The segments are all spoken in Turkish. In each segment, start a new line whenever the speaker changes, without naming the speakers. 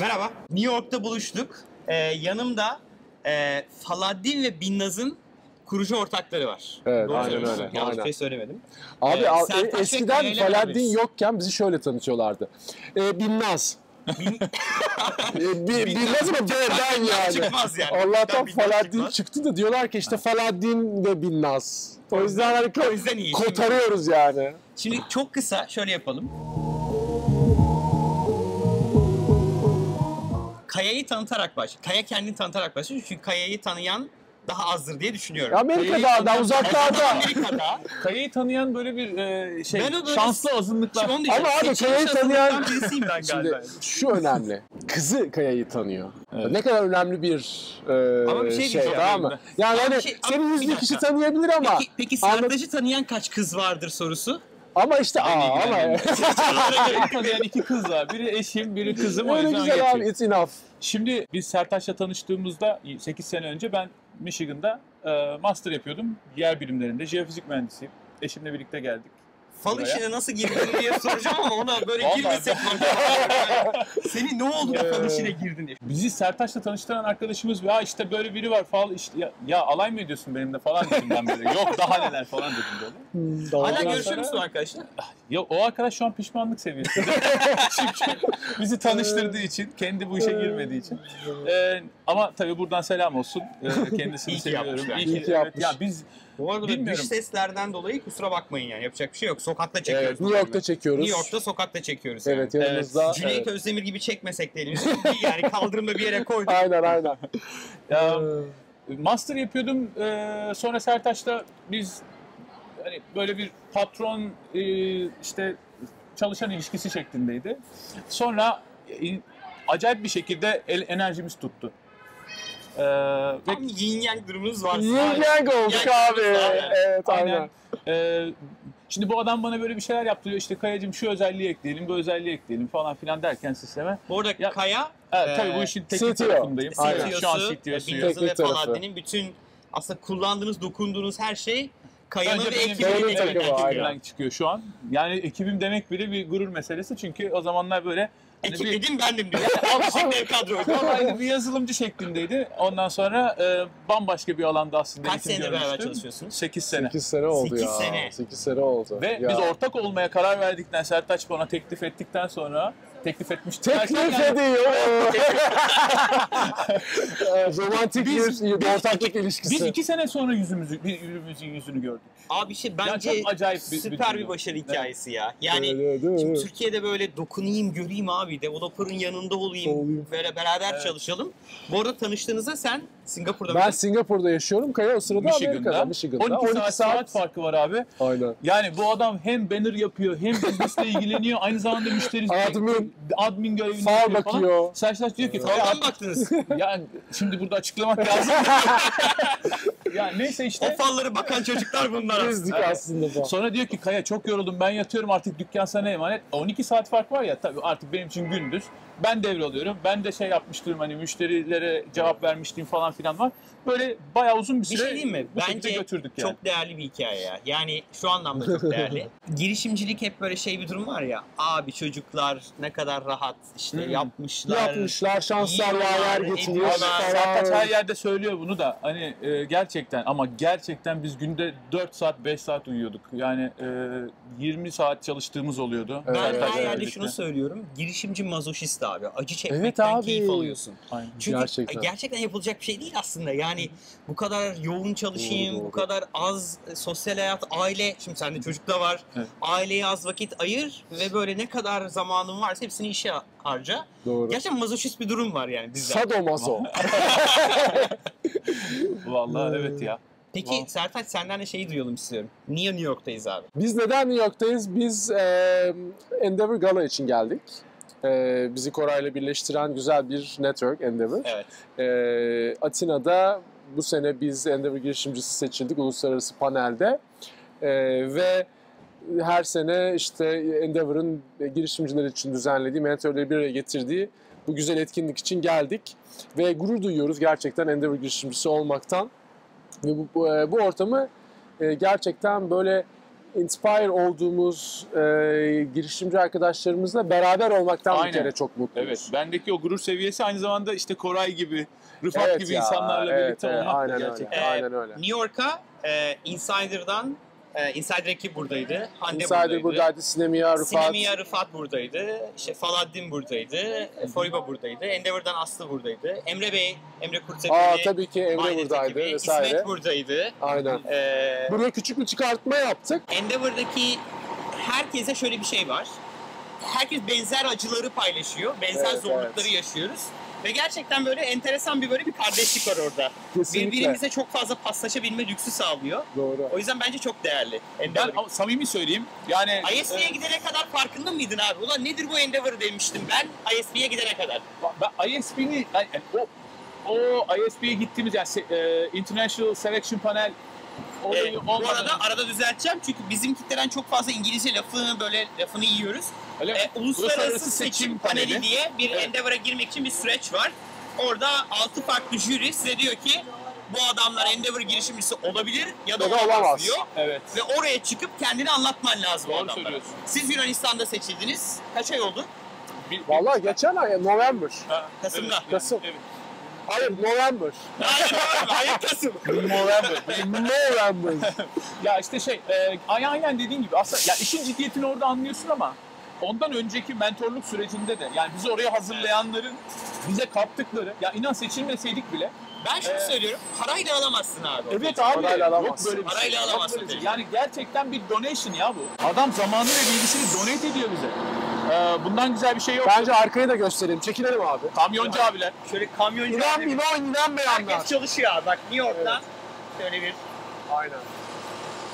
Merhaba. New York'ta buluştuk. Ee, yanımda e, Faladdin ve Binnaz'ın kurucu ortakları var.
Evet, aynen
söylüyorsun.
öyle,
Yanlış bir
aynen.
şey söylemedim.
Abi
Ee,
al-
Sertaç
e,
ve Kaya
eskiden
ile
Faladdin
beraberiz.
yokken bizi şöyle tanıtıyorlardı. E, Binnaz. e, bi, Binnaz mı? B'den yani.
Çıkmaz yani.
Allah'tan
Binnaz
Faladdin
çıkmaz.
çıktı da diyorlar ki işte Faladdin ve Binnaz. O yüzden hani
O yüzden iyi.
kotarıyoruz yani.
Şimdi çok kısa şöyle yapalım. Kaya'yı tanıtarak baş. Kaya kendini tanıtarak başlıyor. Çünkü Kaya'yı tanıyan daha azdır diye düşünüyorum.
Amerika'da adam uzaklarda.
Amerika'da.
Kayayı tanıyan böyle bir e, şey
Ben o böyle-
şanslı azınlıklar.
Şimdi onu diyeceğim.
Ama abi
Seçilmiş
Kaya'yı
azınlıktan
tanıyan-
birisiyim ben
Şimdi
galiba.
şu önemli. Kızı Kaya'yı tanıyor.
Evet.
Ne kadar önemli bir, e,
Ama bir şey
şey,
diyeceğim
tamam mı? Yani
Ama
hani
bir şey- ama
senin
bir
yüzlü kişi
dakika.
tanıyabilir ama
Peki, peki
anlat-
Sertaç'ı tanıyan kaç kız vardır sorusu?
ama işte aa, ama
ilgilenmiyor.
Kayayı tanıyan iki kız var. Biri eşim, biri kızım. o
öyle
yüzden
güzel abi
geçiyor.
it's enough.
Şimdi biz Sertaç'la tanıştığımızda 8 sene önce ben Michigan'da e, master yapıyordum. Yer bilimlerinde. Jeofizik mühendisiyim. Eşimle birlikte geldik.
Fal
Buraya.
işine nasıl girdin diye soracağım ama ona böyle
Vallahi
girmesek var. Senin ne oldu da
Ee,
fal işine girdin diye.
Bizi Sertaç'la tanıştıran arkadaşımız ya işte böyle biri var falan işte ya, ya alay mı ediyorsun benimle falan dedim ben böyle. Yok daha neler falan dedim böyle.
Hala
Ondan
görüşür
sonra-
müsün arkadaşlar?
Ya o arkadaş şu an pişmanlık seviyesinde. Çünkü bizi tanıştırdığı için, kendi bu işe
şey
girmediği için. Ee, ama tabii buradan selam olsun. Ee, kendisini
İyi ki
seviyorum.
yapmışlar.
İyi ki
evet,
yapmış.
ya biz
Bu arada
Bilmiyorum.
dış seslerden dolayı kusura bakmayın yani yapacak bir şey yok. Sokakta çekiyoruz.
Evet,
bu
New York'ta
bölümü.
çekiyoruz.
New York'ta sokakta çekiyoruz yani.
Evet yanımızda.
Cüneyt
Evet.
Özdemir gibi çekmesek de elimizi yani kaldırımda bir yere koyduk.
Aynen aynen.
ya, master yapıyordum. Ee, sonra Sertaç'ta biz hani böyle bir patron e, işte çalışan ilişkisi şeklindeydi. Sonra e, acayip bir şekilde el, enerjimiz tuttu. Ee, ve
Tam yin yang durumunuz var.
Yin yang olduk
Yang
abi.
olduk abi.
Evet aynen.
Aynen. Ee, şimdi bu adam bana böyle bir şeyler yaptırıyor. İşte Kayacığım şu özelliği ekleyelim, bu özelliği ekleyelim falan filan derken sisteme.
Bu arada
Ya-
Kaya
Evet,
Ee,
tabii bu işin teknik
CTO.
tarafındayım.
Aynen.
Şu an
CTO'su,
Bilmiyorum.
CTO'su.
Binnaz'ın ve
Teknik tarafı.
Faladdin'in bütün aslında kullandığınız, dokunduğunuz her şey Kaya'nın
Bence
ve
benim-
benim
ekibinin
takımı,
ekibinden
aynen.
çıkıyor.
Ekibimden çıkıyor şu an. Yani ekibim demek bile bir gurur meselesi. Çünkü o zamanlar böyle hani
Ekip
bir,
dedim bendim diyor. Alışın dev kadroydu.
Aynı bir yazılımcı şeklindeydi. Ondan sonra e, bambaşka bir alanda aslında
Kaç senedir beraber çalışıyorsunuz?
8 sene.
8 sene oldu
Sekiz
ya.
sene.
8 sene oldu.
Ve
Ya.
biz ortak olmaya karar verdikten, Sertaç bana teklif ettikten sonra teklif etmişti. Erken
Teklif
yani-
ediyor. Evet, Romantik bir, bir ortaklık ilişkisi.
Biz iki sene sonra yüzümüzü, bir- yüzümüzün yüzünü gördük.
Abi şey
Ya
bence
çok acayip bir- bir
süper bir
dünya.
başarı
Evet.
hikayesi ya. Yani
Evet, evet, değil mi?
Şimdi Türkiye'de böyle dokunayım, göreyim abi, developer'ın yanında olayım,
Olayım.
böyle beraber
Evet.
çalışalım. Bu arada tanıştığınızda sen Singapur'da
Ben
mı?
Singapur'da yaşıyorum. Kaya o sırada Amerika'da.
Michigan'da.
Michigan'da.
12, saat, saat farkı var abi.
Aynen.
Yani bu adam hem banner yapıyor hem biznesle ilgileniyor. Aynı zamanda müşteri
Admin.
admin görevini
Far
yapıyor falan.
bakıyor.
Sertaç diyor ki
Oradan baktınız.
yani şimdi burada açıklamak lazım. yani neyse
o
işte.
falları bakan çocuklar bunlar.
Bizdik
Evet.
aslında bu.
Sonra diyor ki Kaya çok yoruldum ben yatıyorum artık dükkan sana emanet. 12 saat fark var ya tabii artık benim için gündüz. Ben devralıyorum. Ben de şey yapmıştım hani müşterilere cevap vermiştim falan filan var. Böyle bayağı uzun bir
Bir
süre
şey diyeyim mi?
bu şekilde
Bence
götürdük yani.
çok değerli bir hikaye ya. Yani şu anlamda çok değerli. Girişimcilik hep böyle şey bir durum var ya. Abi çocuklar ne kadar rahat işte
Hmm.
yapmışlar.
Yapmışlar, şanslar
Yiyorlar,
yaver getiriyor.
ediyorlar.
falan.
Sertaç her yerde söylüyor bunu da hani e, gerçekten ama gerçekten biz günde 4 saat 5 saat uyuyorduk. Yani e, 20 saat çalıştığımız oluyordu.
Ben
Evet,
her
Sertaç'la
evet.
yerde
birlikte.
şunu söylüyorum. Girişimci mazoşist abi. Acı çekmekten
Evet abi.
keyif alıyorsun.
Aynen.
Çünkü gerçekten.
Gerçekten.
yapılacak bir şey değil aslında. Yani bu kadar yoğun çalışayım,
Doğru, doğru.
bu kadar az e, sosyal hayat, aile. Şimdi sende çocuk da var.
Evet.
Aileye az vakit ayır ve böyle ne kadar zamanın varsa hepsini işe harca.
Doğru.
Gerçekten mazoşist bir durum var yani bizde.
Sadomaso. Hmm.
Vallahi evet ya.
Peki
Wow.
Sertaç senden de şeyi duyalım istiyorum. Niye New York'tayız abi?
Biz neden New York'tayız? Biz eee Endeavor Gala için geldik. Eee, bizi Koray'la birleştiren güzel bir network Endeavor.
Evet.
Eee, Ee, Atina'da bu sene biz Endeavor girişimcisi seçildik uluslararası panelde. Eee, ve her sene işte Endeavor'ın girişimciler için düzenlediği, mentorları bir araya getirdiği bu güzel etkinlik için geldik. Ve gurur duyuyoruz gerçekten Endeavor girişimcisi olmaktan. Ve bu, bu, bu ortamı e, gerçekten böyle inspire olduğumuz e, girişimci arkadaşlarımızla beraber olmaktan
Aynen.
bir kere çok mutluyuz.
Evet, bendeki o gurur seviyesi aynı zamanda işte Koray gibi, Rıfat
Evet
gibi
ya,
insanlarla
evet,
birlikte
evet,
olmak da
aynen
gerçekten.
öyle. Aynen öyle.
New York'a e, Insider'dan e, Insider ekip buradaydı. Hande
Sadece
buradaydı.
buradaydı Sinemia, Rıfat.
Sinemiya Rıfat buradaydı. İşte Faladdin buradaydı. e, Foriba buradaydı. Endeavor'dan Aslı buradaydı. Emre Bey, Emre Kurtepe'li.
Aa tabii ki Emre
Minded
buradaydı
ekibi,
vesaire.
İsmet buradaydı.
Aynen.
Ee,
Buraya küçük bir çıkartma yaptık.
Endeavor'daki herkese şöyle bir şey var. Herkes benzer acıları paylaşıyor. Benzer
Evet,
zorlukları yaşıyoruz. Ve gerçekten böyle enteresan bir böyle bir kardeşlik var orada.
Kesinlikle.
Birbirimize çok fazla paslaşabilme lüksü sağlıyor.
Doğru.
O yüzden bence çok değerli.
Ben
Endeavor.
ama samimi söyleyeyim. Yani e,
ISB'ye gidene kadar farkında mıydın abi? Ulan nedir bu Endeavor demiştim ben ISB'ye gidene kadar.
Ben ISB'ni yani o e, o ISB'ye gittiğimiz yani se- e, International Selection Panel
Ee,
olayı
bu
olmadan
arada arada düzelteceğim çünkü bizimkilerden çok fazla İngilizce lafını böyle lafını yiyoruz.
öyle mi?
Ee, uluslararası seçim paneli diye bir
Evet.
Endeavor'a girmek için bir süreç var. Orada altı farklı jüri size diyor ki bu adamlar Endeavor girişimcisi olabilir ya da,
Ya da
olamaz,
olamaz.
diyor.
Evet.
Ve oraya çıkıp kendini anlatman lazım o
Doğru
adamlara.
söylüyorsun.
Siz Yunanistan'da seçildiniz. Kaç ay oldu?
Bir- bir-
Vallahi geçen ay November.
Ha,
Kasım'da.
evet,
Kasım.
Evet.
Hayır November.
Hayır, hayır Kasım.
November.
November.
ya işte şey, e, ay- aynen dediğin gibi aslında ya işin ciddiyetini orada anlıyorsun ama ondan önceki mentorluk sürecinde de yani bizi oraya hazırlayanların bize kattıkları ya inan seçilmeseydik bile
Ben şunu
Ee,
söylüyorum. Parayla alamazsın abi.
Evet abi.
Parayla
yok
alamazsın.
böyle bir şey.
Parayla
Yok
alamazsın
böyle bir şey.
dedi.
Yani gerçekten bir donation ya bu. Adam zamanını ve bilgisini donate ediyor bize. Ee, bundan güzel bir şey yok.
Bence arkayı da göstereyim. Çekinelim abi.
Kamyoncu abiler.
Şöyle kamyoncu
İnan
abi-
inan inanmayanlar.
Herkes çalışıyor abi. Bak New York'tan şöyle bir.
Aynen.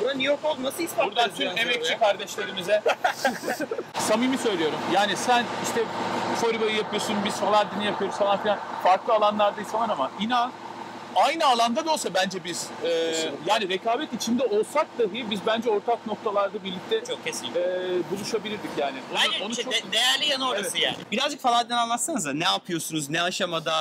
Buna New York olması ispatlarız.
Buradan tüm
yani
emekçi
sonra.
kardeşlerimize samimi söylüyorum. Yani sen işte Foriba'yı yapıyorsun, biz Saladin'i yapıyoruz falan filan. Farklı alanlardayız falan ama inan aynı alanda da olsa bence biz e,
Kesinlikle.
yani rekabet içinde olsak dahi biz bence ortak noktalarda birlikte
Çok kesinlikle.
e, buluşabilirdik yani. Onu,
Aynen
onu
işte
çok
de- değerli yanı orası yani. Birazcık Falad'dan anlatsanıza. Ne yapıyorsunuz? Ne aşamada?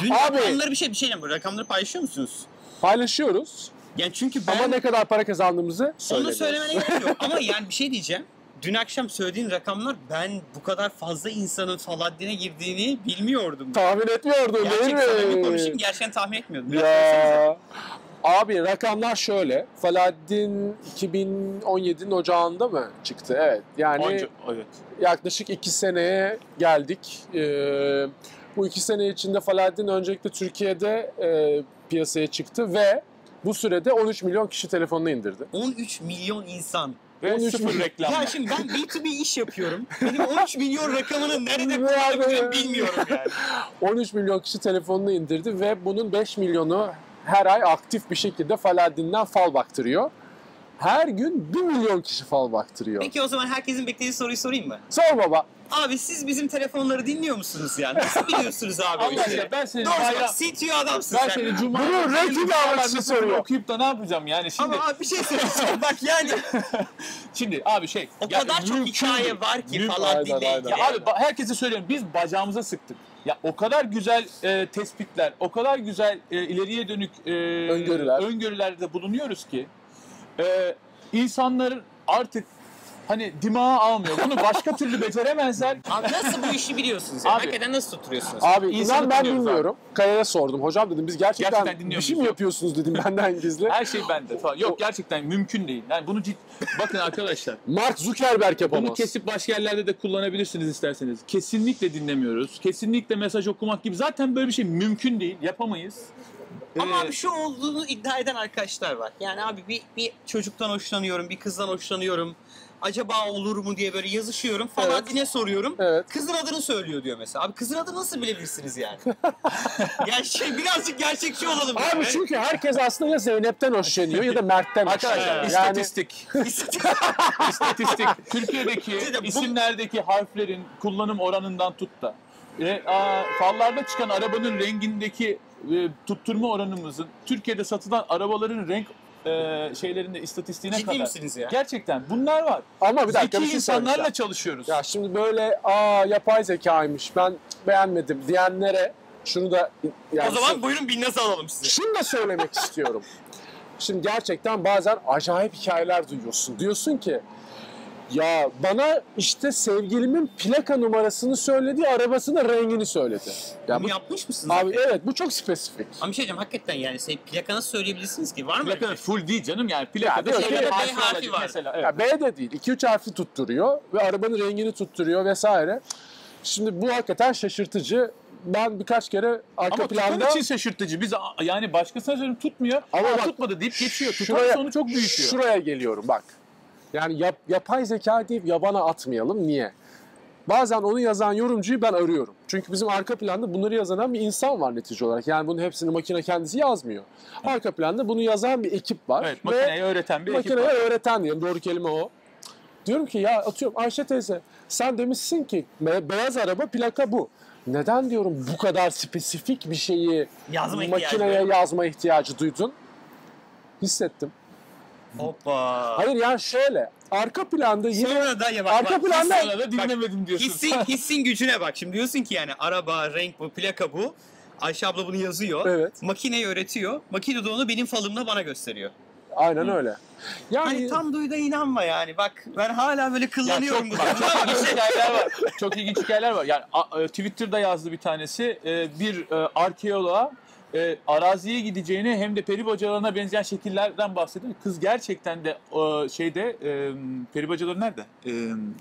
Dün
Abi-
rakamları bir şey bir şeyle mi? Rakamları paylaşıyor musunuz?
Paylaşıyoruz.
Yani çünkü ben
Ama ne kadar para kazandığımızı
onu
söylemiyoruz.
söylemene gerek yok. Ama yani bir şey diyeceğim. Dün akşam söylediğin rakamlar ben bu kadar fazla insanın Faladin'e girdiğini bilmiyordum.
Tahmin etmiyordun değil
Gerçek samimi
mi?
konuşayım gerçekten tahmin etmiyordum. Biraz söylesenize.
Ya. Abi rakamlar şöyle. Faladdin 2017'nin ocağında mı çıktı? Evet. Yani
Onca- evet.
yaklaşık iki seneye geldik. Ee, bu iki sene içinde Faladdin öncelikle Türkiye'de e, piyasaya çıktı ve bu sürede 13 milyon kişi telefonunu indirdi.
13 milyon insan.
Ve
13
sıfır
milyon-
reklam.
Ya şimdi ben B2B iş yapıyorum. Benim 13 milyon rakamını nerede
Nerede?
kullanabileceğimi bilmiyorum yani.
13 milyon kişi telefonunu indirdi ve bunun 5 milyonu her ay aktif bir şekilde Faladdin'den fal baktırıyor. Her gün 1 milyon kişi fal baktırıyor.
Peki o zaman herkesin beklediği soruyu sorayım mı?
Sor baba.
Abi siz bizim telefonları dinliyor musunuz yani? Nasıl biliyorsunuz abi
Allah
o
aşkına
işi?
ben seni
Doğru
bayram...
bak CTO adamsın
Ben
sen.
seni cuma...
Bunu
Cuma-
reyting
Cuma-
amaçlı soruyor.
Okuyup da ne yapacağım yani şimdi?
Ama abi bir şey söyleyeceğim bak yani
Şimdi abi şey...
o
ya
kadar çok
mümkün
hikaye
değil.
var ki
Mümkün-
falan
Aynen,
dinle
aynen.
ilgili.
Ya abi ba- herkese söylüyorum biz bacağımıza sıktık. Ya o kadar güzel e, tespitler, o kadar güzel e, ileriye dönük e,
Öngörüler.
öngörülerde bulunuyoruz ki e, insanların artık hani dimağı almıyor. Bunu başka türlü beceremezler.
Abi nasıl bu işi biliyorsunuz yani?
Abi-
Hakikaten nasıl tutturuyorsunuz?
Abi
İnsanı
inan ben
tanıyoruz abi.
bilmiyorum. Kaya'ya sordum. Hocam dedim biz gerçekten,
Gerçekten
bir
dinliyor
şey
muyuz?
mi yapıyorsunuz dedim benden gizli.
Her şey bende falan. Yok gerçekten mümkün değil. Yani bunu cid... Bakın arkadaşlar.
Mark Zuckerberg yapamaz.
Bunu kesip başka yerlerde de kullanabilirsiniz isterseniz. Kesinlikle dinlemiyoruz. Kesinlikle mesaj okumak gibi. Zaten böyle bir şey mümkün değil. Yapamayız.
Ama
Ee,
abi şu olduğunu iddia eden arkadaşlar var. Yani abi bir, bir çocuktan hoşlanıyorum, bir kızdan hoşlanıyorum. Acaba olur mu diye böyle yazışıyorum. Falan dine soruyorum.
Evet.
Kızın adını söylüyor diyor mesela. Abi kızın adını nasıl bilebilirsiniz yani? yani şey birazcık gerçekçi olalım.
Abi
yani.
çünkü herkes aslında ya Zeynep'ten hoşlanıyor ya da Mert'ten
Arkadaşlar
hoşlanıyor. Yani
istatistik. istatistik. Türkiye'deki
Bir de bu-
isimlerdeki harflerin kullanım oranından tut da. E, a, fallarda çıkan arabanın rengindeki e, tutturma oranımızın Türkiye'de satılan arabaların renk e, şeylerinde istatistiğine
Ciddi
kadar.
misiniz ya?
Gerçekten bunlar var.
ama bir
Zeki
dakika bir şey
insanlarla
söyleyeceğim.
çalışıyoruz.
Ya şimdi böyle aa yapay zekaymış ben beğenmedim diyenlere şunu da yani şey-
o zaman buyurun bir nasıl alalım size.
şunu da söylemek istiyorum. Şimdi gerçekten bazen acayip hikayeler duyuyorsun. Diyorsun ki ya bana işte sevgilimin plaka numarasını söyledi, arabasının rengini söyledi. Ya bu,
Bunu yapmış mısınız?
abi evet bu çok spespifik.
Ama bir şey diyeceğim hakikaten yani sen plaka nasıl söyleyebilirsiniz ki? Var mı? öyle
Plaka
şey?
full değil canım yani
Ya,
plakada
bir
şöyle
kere
B
harfi
harfi
olacak
var.
Mesela, evet.
Ya B de değil. 2-3 harfi tutturuyor ve arabanın rengini tutturuyor vesaire. Şimdi bu hakikaten şaşırtıcı. Ben birkaç kere arka
Ama tutan
planda
için şaşırtıcı. Biz a- yani başkasına söylüyorum tutmuyor.
Ama
Ama
bak,
tutmadı deyip geçiyor. Tutan
şuraya,
sonu çok büyütüyor.
Şuraya geliyorum bak. Yani yap, yapay zeka deyip yabana atmayalım. Niye? Bazen onu yazan yorumcuyu ben arıyorum. Çünkü bizim arka planda bunları yazan bir insan var netice olarak. Yani bunun hepsini makine kendisi yazmıyor. Arka planda bunu yazan bir ekip var.
evet, makineye öğreten bir ekip
Makineye
var.
öğreten diyelim. Doğru kelime o. Diyorum ki ya atıyorum Ayşe teyze sen demişsin ki be- beyaz araba plaka bu. Neden diyorum bu kadar spesifik bir şeyi
Yazma ihtiyacı
makineye
var.
yazma ihtiyacı duydun? Hissettim.
Hoppa.
Hayır yani şöyle arka planda yine
Sonra da ya bak.
Arka
bak,
planda-
hissin-
Sonra da
bak,
dinlemedim diyorsun.
Hissin, hissin gücüne bak. Şimdi diyorsun ki yani araba, renk bu, plaka bu. Ayşe abla bunu yazıyor.
Evet.
Makineyi öğretiyor. Makine de onu benim falımda bana gösteriyor.
aynen öyle. Yani
Hani tam duyda inanma yani. Bak ben hala böyle kıllanıyorum. bu konuda. Bir şey-
hikayeler var. Çok ilginç hikayeler var. Yani a- e, Twitter'da yazdı bir tanesi. E, Bir e, arkeoloğa e, araziye gideceğini hem de peri bacalarına benzeyen şekillerden bahsediyor. Kız gerçekten de e, şeyde e, peri bacaları nerede? E,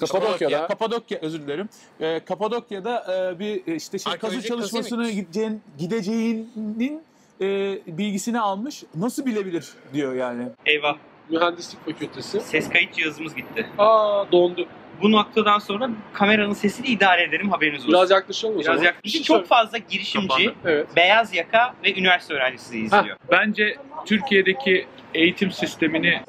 Kapadokya'da.
Kapadokya özür dilerim. E, Kapadokya'da e, bir e, işte şey, kazı
Arkeolojik
çalışmasına gideceğin, gideceğinin e, bilgisini almış. Nasıl bilebilir diyor yani.
Eyvah
mühendislik fakültesi.
ses kayıt cihazımız gitti.
Aa dondu.
Bu noktadan sonra kameranın sesini idare edelim haberiniz olsun.
Biraz yaklaşalım o
Biraz
zaman.
yaklaşık. Çok fazla girişimci,
Kapandı.
Evet.
beyaz yaka ve üniversite öğrencisi izliyor.
Bence Türkiye'deki eğitim sistemini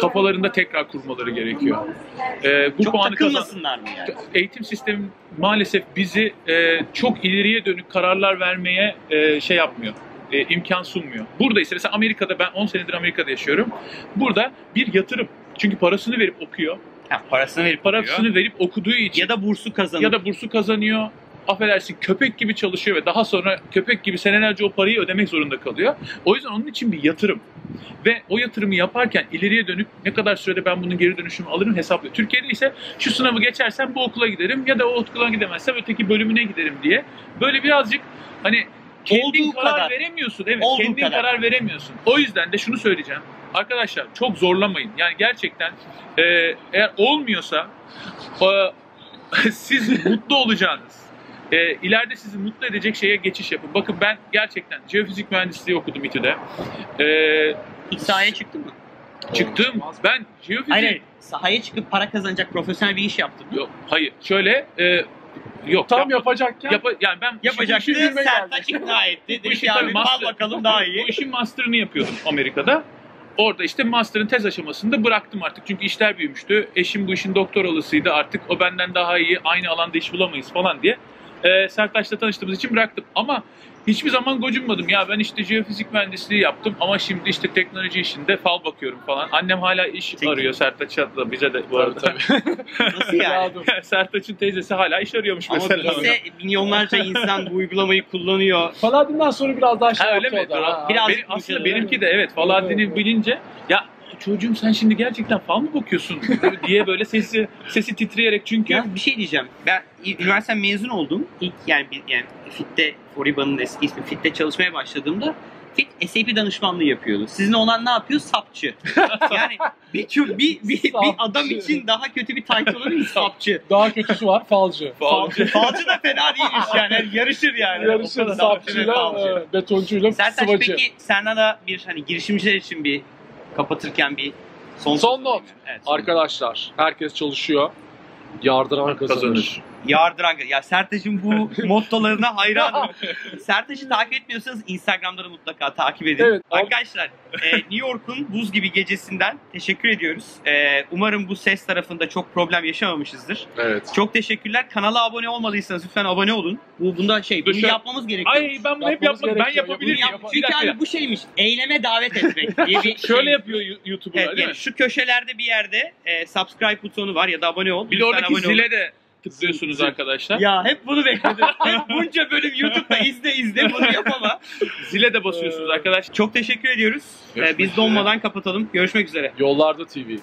kafalarında tekrar kurmaları gerekiyor. Ee, bu
Çok
puanı kazan-
takılmasınlar mı yani?
Eğitim sistemi maalesef bizi e, çok ileriye dönük kararlar vermeye e, şey yapmıyor. E, imkan sunmuyor. Burada ise mesela Amerika'da ben 10 senedir Amerika'da yaşıyorum. Burada bir yatırım. Çünkü parasını verip okuyor.
Ha, parasını verip
Parasını verip okuduğu için
ya da bursu kazanıyor.
ya da bursu kazanıyor. Affedersin köpek gibi çalışıyor ve daha sonra köpek gibi senelerce o parayı ödemek zorunda kalıyor. O yüzden onun için bir yatırım. Ve o yatırımı yaparken ileriye dönük ne kadar sürede ben bunun geri dönüşümü alırım hesaplıyor. Türkiye'de ise şu sınavı geçersem bu okula giderim ya da o okula gidemezsem öteki bölümüne giderim diye. Böyle birazcık hani kendin
Olduğu
karar
kadar.
veremiyorsun. Evet
Olduğu
kendin
kadar.
karar veremiyorsun. O yüzden de şunu söyleyeceğim. Arkadaşlar çok zorlamayın. Yani gerçekten e, eğer olmuyorsa e, siz mutlu olacağınız, e, ileride sizi mutlu edecek şeye geçiş yapın. Bakın ben gerçekten jeofizik mühendisliği okudum İTÜ'de. E,
sahaya çıktın mı?
çıktım. Ben jeofizik...
Hayır, hayır. Sahaya çıkıp para kazanacak profesyonel bir iş yaptın mı?
Yok, hayır. Şöyle... E, yok.
Tam
yapma-
yapacakken
yapa- yani ben
Yapacaktı.
işin bilmeye geldim.
Sertaç ikna etti.
Bu
Dedi
işin
ki
tabii
abi bal
master-
bakalım daha iyi.
Bu işin master'ını yapıyordum Amerika'da. Orada işte master'ın tez aşamasında bıraktım artık. Çünkü işler büyümüştü. Eşim bu işin doktoralısıydı artık. O benden daha iyi aynı alanda iş bulamayız falan diye. Ee, Sertaç'la tanıştığımız için bıraktım. Ama hiçbir zaman gocunmadım. Ya ben işte jeofizik mühendisliği yaptım ama şimdi işte teknoloji işinde fal bakıyorum falan. Annem hala iş
Peki.
arıyor Sertaç'a da bize de bu arada.
Nasıl yani?
Sertaç'ın teyzesi hala iş arıyormuş
Ama
mesela.
bize milyonlarca insan bu uygulamayı kullanıyor.
Paladin'den sonra biraz daha şey
Ha, öyle
yaptı
mi?
o da,
Biraz-
ha.
Biraz
Benim- aslında
konuşalım.
benimki de evet. Faladin'i
Evet.
bilince ya çocuğum sen şimdi gerçekten fal mı bakıyorsun diye böyle sesi sesi titreyerek çünkü
Ya bir şey diyeceğim. Ben üniversite mezun oldum. İlk yani bir- yani Fit'te Foriba'nın eski ismi Fit'te çalışmaya başladığımda Fit SAP danışmanlığı yapıyordu. Sizin olan ne yapıyor? Sapçı. yani bir, bir, bir, bir,
Sapçı.
adam için daha kötü bir title olur mu? Sapçı.
Daha kötüsü var falcı.
Falcı. Falcı da fena değilmiş yani. Yani Yarışır yani. O
Yarışır
kadar.
sapçıyla,
Falcı.
e, betoncuyla
Sertaç
sıvacı.
peki senden de bir hani girişimciler için bir kapatırken bir
Son
son, söz alayım
not.
yani. Evet, son not.
Arkadaşlar herkes çalışıyor. Yardıran kazanır.
kazanır.
Yardıran ya Sertaç'ın bu mottolarına hayranım. Sertaç'ı takip etmiyorsanız Instagram'da da mutlaka takip edin.
Evet.
Arkadaşlar e, New York'un buz gibi gecesinden teşekkür ediyoruz. E, umarım bu ses tarafında çok problem yaşamamışızdır.
Evet.
Çok teşekkürler. Kanala abone olmadıysanız lütfen abone olun. Bu bunda şey bunu
Dışarı-
yapmamız gerekiyor.
Ay ben bunu
Yapmamız
hep yapmadım. Ben
gerekiyor.
yapabilir miyim?
Bunu yap-
Bir
Çünkü
dakika.
abi bu şeymiş. Eyleme davet etmek diye bir
Şöyle
şey.
yapıyor Yu- YouTuber'lar
Evet,
değil mi?
yani şu köşelerde bir yerde e, subscribe butonu var ya da abone ol.
Bir de
Lütfen
oradaki
abone olun.
zile de tıklıyorsunuz arkadaşlar.
Ya hep bunu bekledim. hep bunca bölüm YouTube'da izle izle bunu yapama. Zile de basıyorsunuz
Ee,
arkadaş. Çok teşekkür ediyoruz. Ee,
görüşmek
biz
üzere.
donmadan kapatalım. Görüşmek üzere.
Yollarda TV.